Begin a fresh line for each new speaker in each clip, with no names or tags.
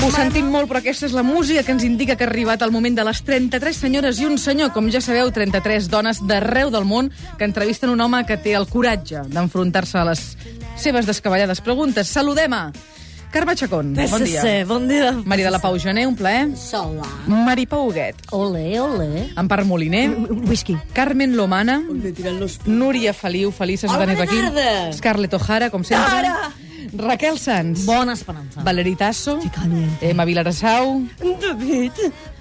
molt, però aquesta és la música que ens indica que ha arribat el moment de les 33 senyores i un senyor. Com ja sabeu, 33 dones d'arreu del món que entrevisten un home que té el coratge d'enfrontar-se a les seves descabellades preguntes. Saludem a Carme Chacón. Bon dia.
bon dia.
Maria de la Pau Gené, un plaer.
Sola.
Mari Pauguet.
Ole, ole.
Empar Moliner.
Whisky.
Carmen Lomana. Núria Feliu, felices de
Hola,
tenir
bona
aquí.
tarda.
Scarlett O'Hara, com sempre.
Ara!
Raquel Sanz.
Bona esperança.
Valeri Tasso.
caliente.
Emma Vilarasau.
David.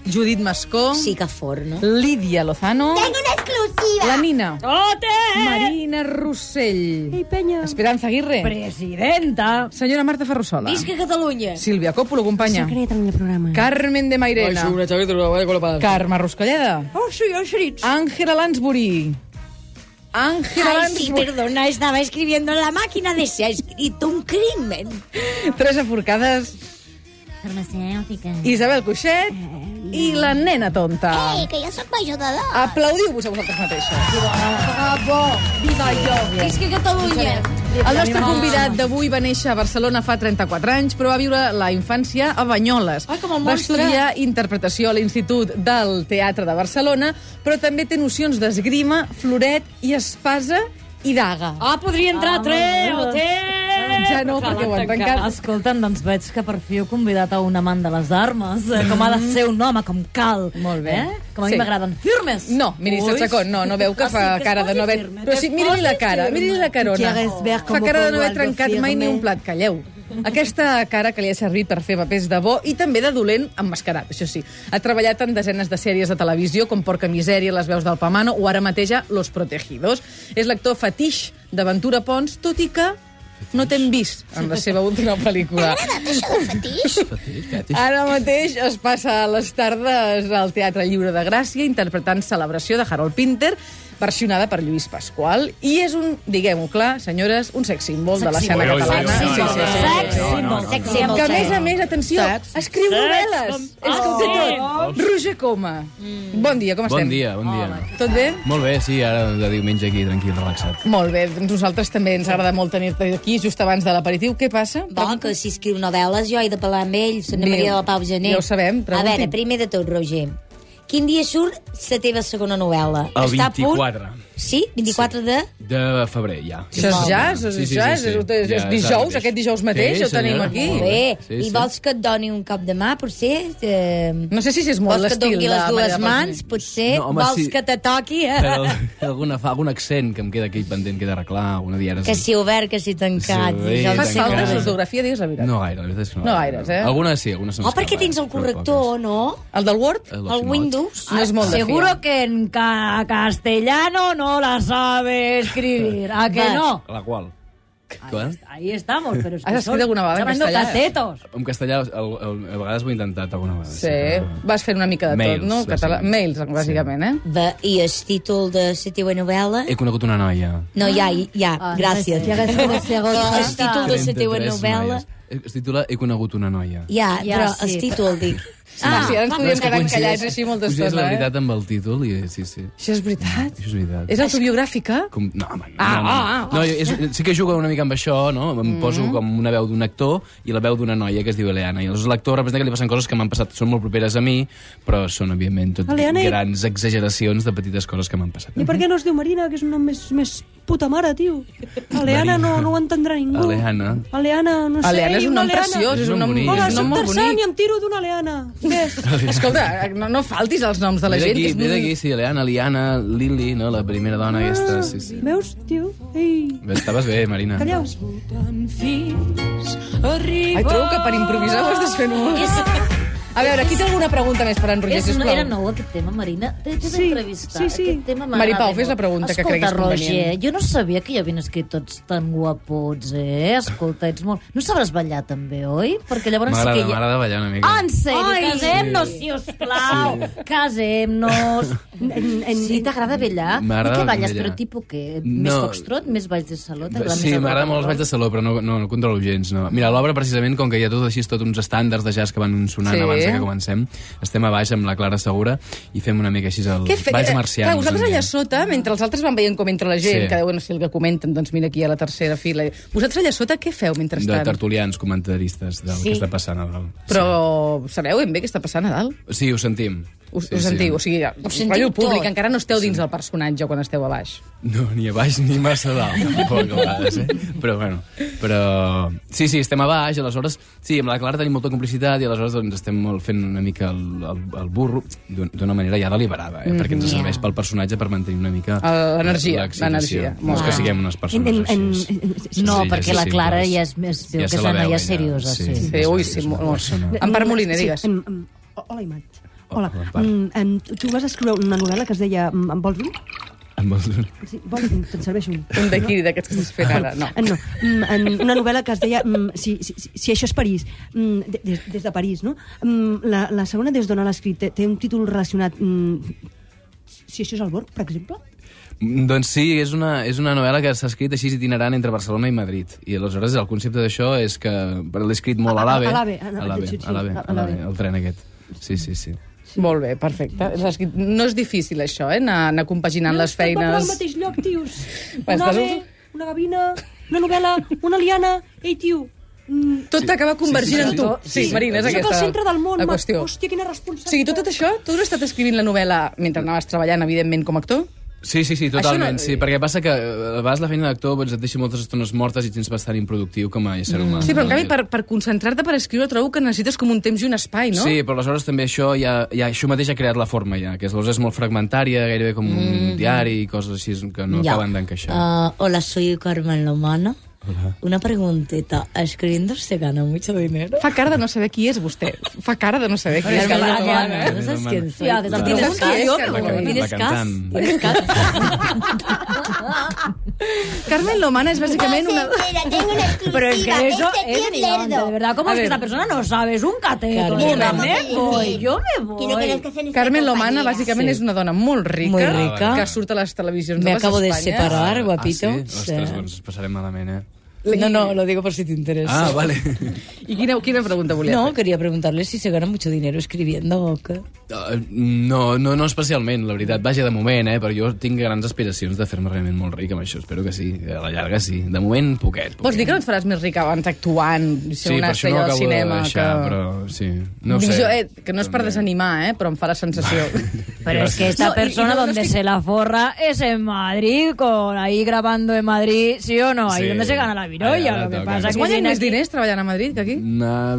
Judit Mascó.
Sí que forno.
Lídia Lozano.
una exclusiva.
La Nina.
Ote!
Eh.
Marina Rossell.
Ei, penya.
Esperanza Aguirre.
Presidenta.
Senyora Marta Ferrusola.
Visca Catalunya.
Silvia Còpolo, companya.
en el programa.
Carmen de Mairena. Carme Ruscalleda.
Oh, sí, oh, sí.
Ángela Lansbury. Ángela
Ay, sí,
Lansbury.
perdona, estaba escribiendo en la máquina de se ha escrito un crimen.
Teresa Forcades.
Farmacèutica.
Isabel Cuixet i la nena tonta.
Ei, que jo sóc major d'edat.
Aplaudiu-vos a vosaltres mateixos.
Bravo. Viva jo. Visca Catalunya.
El nostre convidat d'avui va néixer a Barcelona fa 34 anys, però va viure la infància a Banyoles.
Ai, com el
va
monstre.
estudiar interpretació a l'Institut del Teatre de Barcelona, però també té nocions d'esgrima, floret i espasa i daga.
Ah, podria entrar, treu, treu!
Ja no, perquè ho han tancat.
Escolta'm, doncs veig que per fi heu convidat a un amant de les armes, eh, com ha de ser un home, com cal.
Molt bé.
Eh? Com a
Sí.
mi m'agraden firmes.
No, miri,
Ui.
Satsacón, no, no veu que
Ah, sí,
fa
que es
cara de
posi
no haver...
firme,
Però
que
sí,
es
miri
posi
la cara,
firme.
miri la carona.
Quieres ver
Fa
cómo
cara de no
pongo
haver
algo
trencat mai ni
firme?
un plat, calleu. Aquesta cara que li ha servit per fer papers de bo i també de dolent emmascarat, això sí. Ha treballat en desenes de sèries de televisió com Porca Misèria, Les veus del Pamano o ara mateix a Los Protegidos. És l'actor fetix d'Aventura Pons, tot i que no t'hem vist en la seva última pel·lícula. Ara mateix es passa a les tardes al Teatre Lliure de Gràcia interpretant Celebració de Harold Pinter, versionada per Lluís Pasqual, i és un, diguem-ho clar, senyores, un sex símbol de l'escena
Oi, oi, oi,
catalana.
oi, oi, oi, oi, oi,
Sex symbol. Sex symbol.
Que, a més a més, atenció, escriu novel·les.
com-
És que ho té
Oh.
tot. Roger Coma.
Mm.
Bon dia, com estem?
Bon dia, bon dia.
Tot bé?
Molt bé, sí, ara de diumenge aquí, tranquil, relaxat.
Molt bé, doncs nosaltres també ens agrada molt tenir-te aquí just abans de l'aperitiu. Què passa?
Bon, que si escriu novel·les jo he de parlar amb ell, Santa
Diu.
Maria de la Pau Gené.
Ja ho sabem,
A
pregunti.
veure, primer de tot, Roger, quin dia surt la teva segona novel·la?
El
Està a punt?
24
Sí? 24 sí. de...
de febrer, ja.
Això és ja, això és ja, és- és- és
Ja,
dijous,
ara mateix.
aquest dijous mateix, ja ho tenim
senyora,
aquí.
molt
Bé,
Sí,
i
sí.
vols que et doni un cop de mà, potser? Eh...
No sé si és molt
Vols que et
l'estil
doni
de
les
Maria
dues
Paz
mans,
Gené.
potser?
No, home,
vols
sí.
que te toqui? eh?
Però alguna, fa algun accent que em queda aquí pendent, queda arreglar, alguna diàresi.
Que si obert, que si tancat.
Sí,
jo
bé,
no
Fas
sé
tancat.
falta
res.
Encara.
l'ortografia, digues la veritat.
No gaire, la veritat és que no.
No gaires, eh?
Alguna sí, alguna
Oh, perquè tens el corrector, no?
El del
Eh,
Word?
El Windows?
No és molt de
Seguro
fiar.
que en ca castellano no la sabe escribir. ¿A que
Va.
no?
La qual? Qual?
Ahí estamos, pero es que
¿Has escrito
son-
alguna vegada en
estamos hablando
castellano?
catetos.
En castellà, el, el, a vegades ho he intentat alguna vegada.
Sí,
però-
vas fent una mica de tot,
Mails,
no? Català...
bàsicament.
Mails, bàsicament, eh?
Va, I el títol de la teva novel·la?
He conegut una noia.
No, ja, ja,
Ah,
Ah,
gràcies.
ja que és una segona.
El títol de la teva
33
novel·la...
noies. Es titula He conegut una noia.
Ja,
Ja,
però
sí,
el títol, dic.
Ah, sí, ara ens
Però és
podríem
que
quedar
coincideix-
encallats així molta
coincideix
estona,
la
eh?
veritat amb el títol i sí, sí.
Això és veritat?
Això és veritat.
És autobiogràfica?
Com... No, home, no,
Ah,
no, no.
ah, Mm. ah.
no és, sí que jugo una mica amb això, no? Em poso com una veu d'un actor i la veu d'una noia que es diu Eleana. I aleshores l'actor representa que li passen coses que m'han passat, són molt properes a mi, però són, òbviament, tot
Eliana i-
grans exageracions de petites coses que m'han passat.
I per què no es diu Marina, que és un nom més, més puta mare, tio? Aleana no, no ho entendrà ningú.
Aleana.
Aleana, no sé.
Aleana és
i
un
una
nom
Aleana.
preciós, és
És
un
un
nom,
bonic.
Hola,
és un nom
soc
molt
Tarzan i
bonic.
em tiro d'una Aleana. Ves.
Escolta, no, no faltis els noms de la
Ve
gent.
d'aquí,
que és
ve
molt-
d'aquí, sí, Eliana, Liana, Lili, no? La primera dona aquesta, sí, sí.
Veus, tio? Ei,
Ah,
Estaves bé, Marina.
calleu.
Ai, trobo que per improvisar ho estàs fent molt. A veure, aquí té alguna pregunta més per en Roger,
És, no,
sisplau?
era nou aquest tema, Marina. T'he de
Sí,
entrevistar.
sí, sí.
Aquest tema
Mari
m'agrada
Pau, fes la
molt.
pregunta que
Escolta,
creguis
Roger,
convenient.
jo no sabia que hi havien escrit tots tan guapots, eh? Escolta, ets molt... No sabràs ballar també, oi? Perquè llavors sí
M'agrada,
que... hi ha-
m'agrada ballar una mica.
Ah, en sèrio,
Ai!
casem-nos, sisplau. Casem-nos. Sí, t'agrada ballar?
M'agrada
I què balles,
ballar.
però tipus què? Més
No.
foxtrot, més balls de saló? t'agrada
Sí,
més el
m'agrada
rock
molt els
and
balls de saló, però no, no, no controlo gens. No. Mira, a l'obra, precisament, com que hi ha tot així, tot uns estàndards de jazz que van sonant
Sí.
sí. abans de que comencem, estem a baix amb la Clara Segura i fem una mica així el
Què fe...
balls
eh,
marcians.
Clar, vosaltres
en
allà
diem.
sota, mentre els altres van veient com entra la gent,
Sí.
que deuen ser el que comenten, doncs mira aquí a la tercera fila. Vosaltres allà sota què feu
De
mentrestant?
tertulians, comentaristes del sí. que està passant a dalt.
Però sabeu ben bé què està passant a dalt.
Sí, ho sentim.
Us,
sí,
sí, us
sí.
sentiu, sí. o
Ho
sigui,
sentiu
ballo públic,
tot.
encara no esteu dins del personatge quan esteu a baix.
No, ni a baix ni massa a dalt, tampoc, a vegades, eh? Però, bueno, però... Sí, sí, estem a baix, aleshores... Sí, amb la Clara tenim molta complicitat i aleshores doncs, estem molt fent una mica el, el, el burro d'un- d'una manera ja deliberada, eh? Perquè ens serveix pel personatge per mantenir una mica...
Mm-hmm. El- l'energia,
l'excitació.
l'energia.
No és que
Molt.
siguem unes persones
En- en-
així.
en- en-
No,
senzilles,
perquè la
simples.
Clara ja és més- veu que
se
és
la
una
veu,
noia
ja.
seriosa, sí.
Sí,
és-
ui,
és
sí,
una
molt-
persona.
molt. Empar Moliner, digues.
Sí, em, em, hola, Imat. Hola,
Hola, Empar.
mm, em, tu- tu vas escriure una novel·la que es deia mm, Em vols un?
Amb el...
Sí, vols un? Te'n serveixo un.
Un d'aquí, d'aquests que estàs fent ara, no.
Eh, No, Mm, en una novel·la que es deia mm, si, si, si- si això és París, mm, de- des, des de París, no? Mm, La, la segona, des d'on l'ha escrit, té, té un títol relacionat... mm, Si això és el Borg, per exemple?
Mm, Doncs sí, és una, és una novel·la que s'ha escrit així itinerant entre Barcelona i Madrid. I aleshores el concepte d'això és que... però L'he escrit molt a
A- a-
l'AVE.
a l'AVE, a-
a l'AVE,
sí, sí,
a l'AVE,
a- a
a l'AVE,
l'AVE.
el tren aquest. Sí, sí, sí.
Molt bé, perfecte. L'has dit- No és difícil, això, eh? Anar, anar compaginant les
Tot va parar al
feines.
mateix lloc, tios.
Va,
Un
estàs-
ave, una gavina, una novel·la, una liana... Ei, tio, mm,
Tot acaba convergint
sí,
en
sí,
tu.
sí,
Sí,
sí.
Marina, és
Soc
aquesta
el centre del món,
la
ma-
qüestió.
hòstia, quina
O
responsabilitat.
sigui, tu tot això, tu has estat escrivint la novel·la mentre anaves treballant, evidentment, com a actor?
Sí, sí, sí,
Això
totalment,
no-
no... sí, perquè passa que eh, a vegades la feina d'actor doncs, et deixa moltes estones mortes i tens bastant improductiu com a ésser humà.
Sí, però en
no?
canvi, per, per concentrar-te per escriure, trobo que necessites com un temps i un espai, no?
Sí, però aleshores també això ja, ja això mateix ha creat la forma ja, que aleshores és molt fragmentària, gairebé com un diari i coses així que no
Ya.
acaben d'encaixar.
Ah, hola, soy Carmen Lomana. Una pregunteta. ¿Escribiendo se gana mucho dinero?
Fa cara de no saber qui és vostè. Fa cara de no saber qui és.
Carmen
Catalana.
Lomana. ¿No sabes quién soy?
Hostia, desde
Claro.
¿Sabes
tienes
quién es?
cas,
La
can-
tienes cas,
la cantant.
tienes cas.
Carmen Lomana és
Ah,
bàsicament una...
Espera, tengo una exclusiva.
Pero es que eso
este tío
es brillante,
lerdo.
de verdad. ¿Cómo
A
es que
ver.
esta persona no sabe? Es un cateto.
Carmen,
Yo
vamos a
me
decir.
voy, yo me
Que no
voy.
querés que sea nuestra
Carmen Lomana,
compañera.
bàsicament, és una dona molt rica,
Muy rica.
que surt a les televisions
Me
de les
acabo de
Espanyes.
separar. Parar, guapito.
Ah, sí? Ostres,
Sí.
doncs passarem malament, eh?
No, no, lo digo por si te interesa.
Ah, vale.
I quina, quina pregunta volia
No,
fer?
quería preguntarle si se gana mucho dinero escribiendo o qué.
Eh, No, no, no especialment, la veritat. Vaja, de moment, eh? Però jo tinc grans aspiracions de fer-me realment molt ric amb això. Espero que sí. A la llarga sí. De moment, poquet. poquet.
Vols dir que no et faràs més rica abans actuant, ser
sí,
una
per això no
estrella del
acabo
cinema?
de deixar,
que...
però sí. No ho
Dic
sé.
Jo, eh, que no és per desanimar, eh, però em fa la sensació.
Pero es que esta
No, y- y no,
persona
no
donde
estoy-
se la forra es en Madrid, con ahí grabando en Madrid, ¿sí o no? Ahí
Sí.
donde se gana la
Ahí
virolla. Lo
ahora
que
toca.
pasa
Es
Es
que
guanyen
viene
més
aquí-
diners treballant a Madrid que aquí?
Na...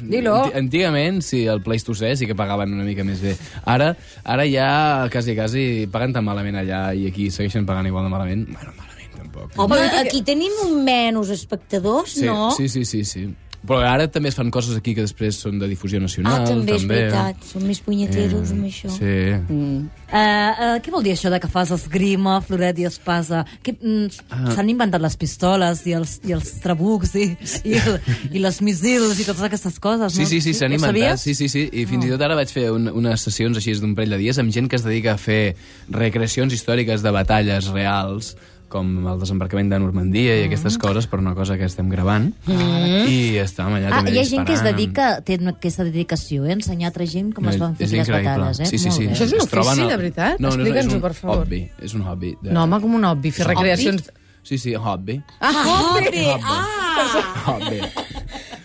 Dilo.
Anti- Antigament, sí, el Pleistocè sí que pagaven una mica més bé. Ara, ara ja quasi, quasi paguen tan malament allà i aquí segueixen pagant igual de malament. Bueno, malament tampoc.
Home, aquí tenim un menys espectadors,
sí,
Oh, no?
Sí, sí, sí, sí. Però ara també es fan coses aquí que després són de difusió nacional.
Ah, també és
també. Eh,
veritat. Som més punyeteros amb això.
Sí. Mm.
Eh, eh, què vol dir això de que fas esgrima, floret i espasa? Que, mm,
Ah.
S'han inventat les pistoles i els, i els trabucs i, i, el, i les missils i totes aquestes coses,
Sí,
no?
sí, sí, s'han
Ho
inventat.
sabies?
Sí, sí, sí. I fins i tot ara vaig fer un, unes sessions així d'un parell de dies amb gent que es dedica a fer recreacions històriques de batalles reals com el desembarcament de Normandia
Ah.
i aquestes coses, per una cosa que estem gravant. I estàvem allà
Ah,
també
hi ha gent que es
disparant amb-
dedica, té una- aquesta dedicació, eh? ensenyar a altra gent com
No,
es van fer
és
les
increïble.
batades. Eh?
Sí, sí,
Molt
sí.
bé.
Això és un
Es troben
ofici,
al-
de veritat?
No, no, és, és
Explica'ns-ho,
un
per favor.
hobby. És un hobby. De...
No, home, com un obvi, fer recreacions...
Sí, sí, hobby.
Ah, hobby! Ah,
Hobby.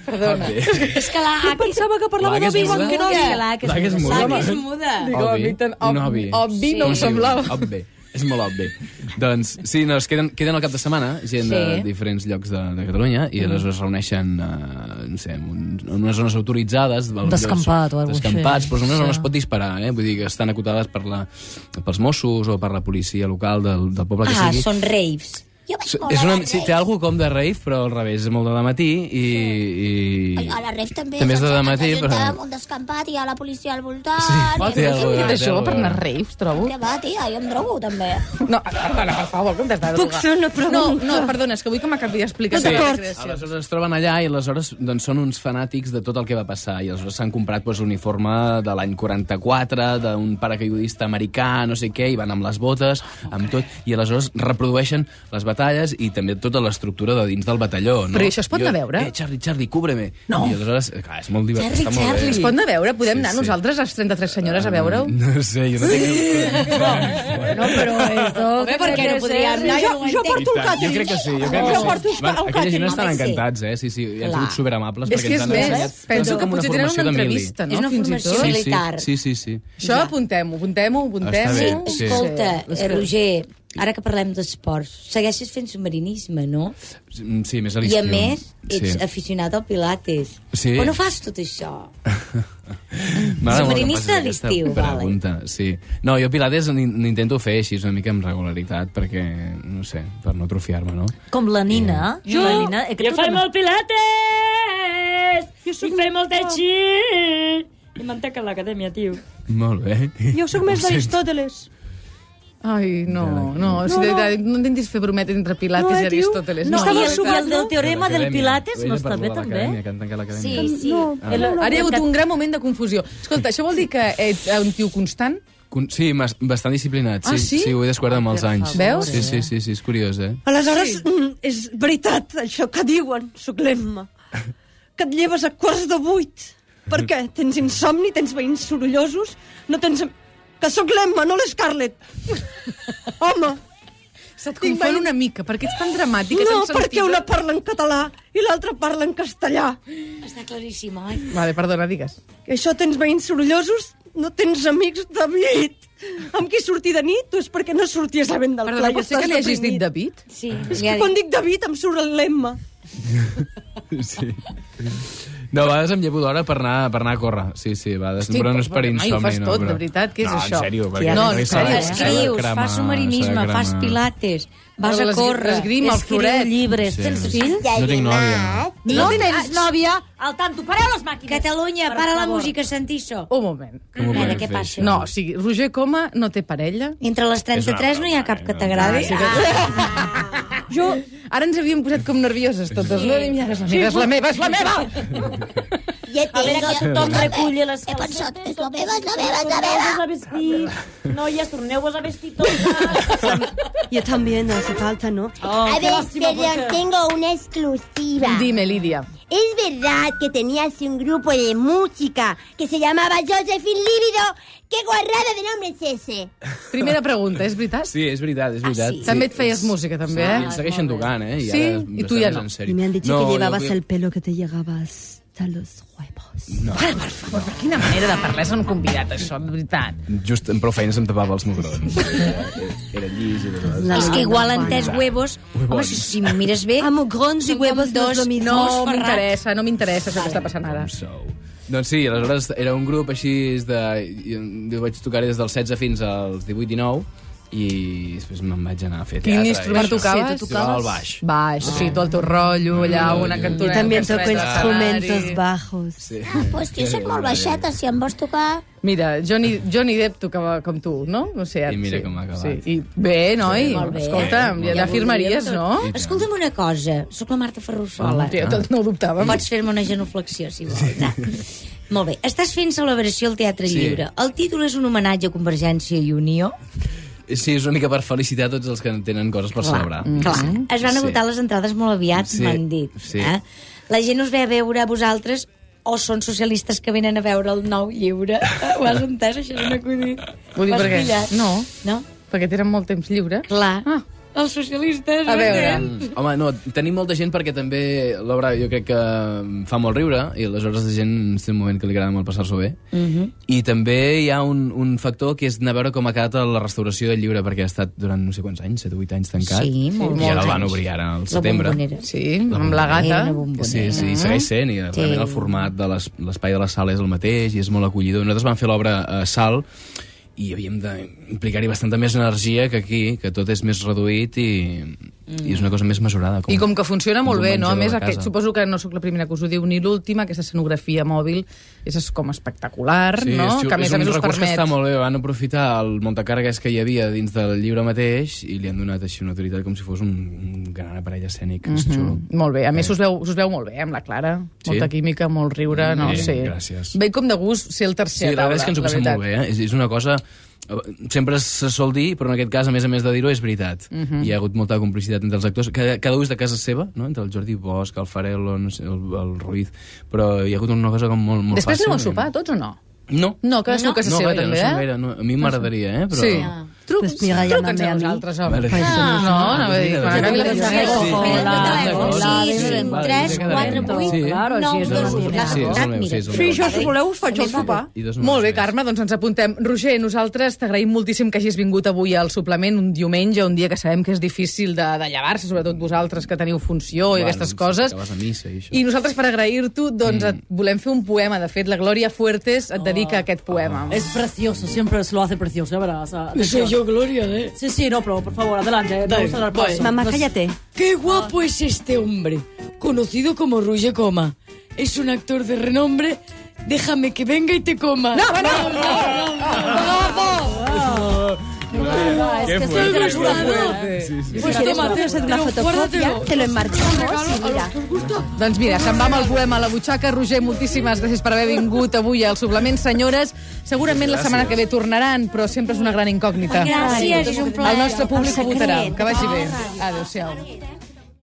Perdona.
Hobby.
és que la...
Pensava que parlava
Vagues
d'Obi Wan
muda.
Kenobi.
La
que és muda,
La que és
home.
muda.
Dic, obvi, tan ob-
un obvi.
obvi no em
Com se diu?
semblava.
Obvi. És molt obvi. doncs, sí, no, es queden, queden al cap de setmana gent sí. de
Sí.
diferents llocs de, de Catalunya i aleshores es reuneixen eh, no sé, en, un, en unes zones autoritzades. val-
Descampat o alguna cosa
Descampats,
així.
però són unes
Sí.
on es pot disparar, eh? Vull dir que estan acotades per la, pels Mossos o per la policia local del, del poble que
Ah,
sigui.
són raves. Jo vaig molt
és
a
una,
la
sí, té
rave.
algo com de rave, però al revés, és molt de matí i... i...
A la ref també.
També és de
se'ns
dematí, però-
ajuntàvem un descampat i hi ha la policia al voltant.
Sí,
i
té
no sé
algo ¿eh?
què.
de-
Això,
Déu,
per
a
anar a
veure.
raves, trobo.
Què va, tia? Jo em drogo, també.
No, perdona, per favor, que em t'has de
Puc
drogar.
fer una pregunta?
No, no, perdona, és que vull que m'acabi d'explicar
Sí.
les recreacions.
Aleshores es troben allà i aleshores doncs, són uns fanàtics de tot el que va passar i aleshores s'han comprat doncs, l'uniforme de l'any 44 d'un paracaigudista americà, no sé què, i van amb les botes, amb tot, i aleshores reprodueixen les batalles i també tota l'estructura de dins del batalló. No?
Però i això es pot
jo,
anar a veure?
Eh, Charlie, Charlie, cúbreme.
No.
I aleshores, eh, clar, és molt divertit.
Charlie,
està molt bé.
Charlie.
Es pot anar a veure? Podem
Sí,
anar
sí.
nosaltres, les 33 senyores, a veure-ho?
No sé, jo no tinc...
No, però esto...
Home, per què no podríem anar?
Jo, jo porto el
Jo
càtering.
crec que sí. Jo crec
Jo
que sí.
porto el
Bueno, aquella gent
càtering.
estan
home, sí.
encantats, eh? Sí, sí, han sigut superamables.
És
perquè
que és
ens han ensenyat-
més,
Doncs
penso
com
que potser tenen
formació
una
de mili.
entrevista,
És
no?
una
Fins i tot.
formació de-
Sí, sí,
militar.
sí, sí, sí.
Això apuntem-ho, apuntem-ho,
bé,
apuntem-ho.
sí.
Escolta,
Sí.
eh, Roger, ara que parlem d'esports, segueixes fent submarinisme, no?
Mm, Sí, més a
I
l'estiu.
a més, ets
Sí.
aficionat al pilates.
Sí.
On ho fas tot això?
M'agrada molt que em
Submarinista
facis aquesta
a l'estiu, vale.
pregunta, sí. No, jo pilates n'in- n'intento fer així una mica amb regularitat perquè, no sé, per no atrofiar-me, no?
Com la Nina. Jo, la Nina, eh, que tu també-
pilates!
Jo sóc
I faig
molt
molt tai chi! I m'han tancat l'acadèmia, tio.
Molt bé.
Jo sóc més d'Aristòteles.
Ai, no, no, no, si de veritat, no intentis fer brometes entre Pilates
No,
i
eh, tio?
Aristòteles.
No,
No,
i
no,
el, i el del teorema del Pilates no està bé, també?
Que han tancat l'acadèmia.
Sí, sí. No.
Ah.
Ara hi ha hagut un gran moment de confusió. Escolta, això vol dir que ets un tio constant?
Con- Sí, mas- bastant disciplinat, sí.
Ah, sí?
Sí, ho he descobert amb els anys.
Veus?
Sí, sí, sí, sí, és curiós, eh?
Aleshores, mm, és veritat això que diuen, sóc l'Emma, que et lleves a quarts de vuit. Per què? Tens insomni, tens veïns sorollosos, no tens... am- Que sóc l'Emma, no l'Scarlett. Home,
Se't confon una mica, perquè ets tan dramàtica,
no,
tan
perquè
sentida.
una parla en català i l'altra parla en castellà.
Està claríssim, oi?
Vale, perdona, digues.
I això tens veïns sorollosos, no tens amics de nit. Amb qui sortir de nit, tu és perquè no sorties a vent del
Perdona,
pla i
pot ser
estàs
que li hagis dit
deprimit.
David?
Sí.
És que quan dic David em surt l'Emma.
Sí. No, a vegades em llevo d'hora per anar, per anar a córrer. Sí, sí, a vegades.
Hosti,
però no és per
però,
insomni.
mai ho fas
no,
tot,
però...
de veritat, què és
no,
això?
En sèrio, perquè
Tia, no, en
no, s'ha de-
sèrio.
s'ha de
Escrius,
cremar,
fas
s'ha
submarinisme,
de
fas
cremar.
pilates, vas a
Les-
córrer.
L'esgrima, el
Escriu
floret.
llibres.
Sí.
Tens fills?
No tinc nòvia.
No tens nòvia? Al tanto, pareu les màquines.
Catalunya, para la música, Santiso.
Un moment.
Com ho
Mare,
podem
què
fer,
passa?
això?
No, o sigui, Roger Coma no té parella.
Entre les
És una
33 no hi ha cap que t'agradi. Ah.
Sí,
Jo... Ara ens havíem posat com nervioses totes. No, Dic, mira, és la meva, és la meva, és la meva!
Ja
A veure que
tinc.
tothom reculli les
He
calces.
pensat, és la meva, és la meva, és la meva.
Torneu-vos a vestir. Noies, torneu-vos a vestir totes.
Jo també, no hace falta, no?
Oh,
A
qué
ver,
lástima,
perdón,
porque-
tengo una exclusiva.
Dime, Lídia.
¿Es verdad que tenías un grupo de música que se llamaba Josephine Líbido? ¡Qué guarrada de nombre es ese!
Primera pregunta, és veritat?
Sí, és veritat, és veritat. Ah, sí.
També et feies música, també,
Sí,
eh?
em segueixen tocant, eh? I
Sí?
ara
I tu ja no.
bastant més en
Y
sèrio.
me han dicho
jo
que llevabas
vull-
el pelo que te llegaba hasta los huevos.
No,
Però per quina manera de parlar s'han convidat, això, de veritat.
just amb prou feines em tapava els mugrons. Era llis i tot.
La-
És que igual en tres huevos...
Huevons.
Home, si, si m'ho mires bé...
Ah, mugrons i
són com
huevos no és
dos
lo mismo.
No
ferrats.
m'interessa, no m'interessa això que està passant ara.
Com sou. Doncs sí, aleshores era un grup així de... Jo vaig tocar des dels 16 fins als 18-19 i després me'n vac anar a fer teatre.
Quin instrument
i això.
tocaves?
Sí, tu
Tocava
tocaves?
el baix.
Baix, sí, tu el teu rotllo, allà,
Mm.
una
Yo
cantonera... que
también
es
toco
veig a
instrumentos
l'escenari.
bajos.
Sí.
Ah, pues jo soc molt baixeta, si em vols tocar...
Mira, Johnny, Johnny Depp tocava com tu, no? No sé, ara,
I mira
sí,
com ha acabat.
Sí. I bé, noi,
Sí,
sí,
molt
bé.
escolta'm,
Molt
ja
bé.
l'afirmaries, no?
I tant.
Escolta'm una cosa, sóc la Marta Ferrusola.
Hòstia, tot no ho dubtàvem.
Pots fer-me una genuflexió, si vols. Sí. Molt bé. Estàs fent celebració al Teatre
Sí.
Lliure. El títol és un homenatge a Convergència i Unió.
Sí, és una mica per felicitar tots els que tenen coses per celebrar.
Mm.
Clar.
Mm-hmm. Sí.
Es van agotar les entrades molt aviat,
Sí,
m'han dit.
sí.
Eh? La gent us ve a veure a vosaltres o són socialistes que venen a veure el nou lliure. Ho has entès, això és un acudit.
Vull dir,
Ho has
per què?
pillat?
No.
No?
Perquè tenen molt temps lliure.
Clar.
Ah.
Els socialistes...
A veure.
Mm. Home, no, tenim molta gent perquè també l'obra jo crec que fa molt riure i aleshores la gent té un moment que li agrada molt passar-s'ho bé. Mm
Mhm.
-hmm. I també hi ha un, un factor que és anar a veure com ha quedat la restauració del llibre perquè ha estat durant no sé quants anys, 7 o 8 anys tancat.
Sí, molt,
I ara el
molts
van
anys.
obrir ara al
La
setembre.
bombonera.
Sí, amb la gata.
Era una bombonera.
Sí, sí, segueix sent, i realment el format de les- l'espai de la sala és el mateix i és molt acollidor. Nosaltres vam fer l'obra a Sal i havíem d'implicar-hi bastanta més energia que aquí, que tot és més reduït i,
Mm.
i és una cosa més mesurada.
I com que funciona molt
un
bé, no? A
menjador
més,
de
aquest,
casa.
suposo que no sóc la primera que us ho diu ni l'última, aquesta escenografia mòbil és es- com espectacular,
Sí,
no?
és,
que a més
és
a més
un
us
recurs que
permet...
està molt bé. Van aprofitar el muntacàrregues que hi havia dins del llibre mateix i li han donat així una autoritat com si fos un, un gran aparell escènic. Mm -hmm. És xulo.
Molt bé, a més us veu, us veu molt bé amb la Clara,
Sí?
molta química, molt riure, no
Bé,
sé.
gràcies.
Ve com de gust ser el tercer
Sí,
a
la
taula,
veritat és que ens ho
la
passem
veritat.
molt bé. Eh? És, és una cosa sempre se sol dir, però en aquest cas, a més a més de dir-ho, és veritat.
Mhm.
Hi ha hagut molta complicitat entre els actors. Cada, cada un és de casa seva, no? entre el Jordi Bosch, el Farello, no sé, el, el Ruiz, però hi ha hagut una cosa com molt, molt
Després
fàcil.
aneu a sopar, tots o no?
No.
No, cadascú a casa
no,
seva,
gaire,
també,
no som
eh?
gaire, no. A mi m'agradaria, eh? Però...
Sí. Trucs,
Pues mira,
truca'ns
llámame
a
a mi.
nosaltres, home.
Vale.
Ah, no, anava a dir,
mira,
quan acabi la
mira,
funció.
sí.
Sí, jo, si voleu, us faig el sopar.
I dos
Molt bé,
números més.
Carme, doncs ens apuntem. Roger, nosaltres t'agraïm moltíssim que hagis vingut avui al suplement un diumenge, un dia que sabem que és difícil de, de llevar-se, sobretot vosaltres que teniu funció i
Bueno,
aquestes
sí,
coses.
que vas a missa i això.
I nosaltres, per agrair-t'ho, doncs et volem fer un poema. De fet, la Glòria Fuertes et
Oh.
dedica aquest poema.
Es precioso, siempre lo hace precioso, ya verás. Atención.
yo, Gloria, ¿eh?
Sí, sí, no, pero por favor, adelante. eh, Vamos a dar paso.
Mamá,
No sé-
cállate.
Qué guapo es este hombre, conocido como Ruye Coma. Es un actor de renombre. Déjame que venga y te coma.
No, no, no, no,
Ah, es que estoy
fuerte,
de la
fuerte.
ayuda.
Pues tómate,
una fotocopia, te lo enmarcamos y mira.
Doncs mira, se'n va amb el poema a la butxaca. Roger, moltíssimes gràcies per haver vingut avui al suplement. Senyores, segurament la setmana que ve tornaran, però sempre és una gran incògnita.
Gràcies, és un plaer.
El nostre públic
El secret. Oh,
votarà. Que vagi bé. Adéu-siau.
Adéu.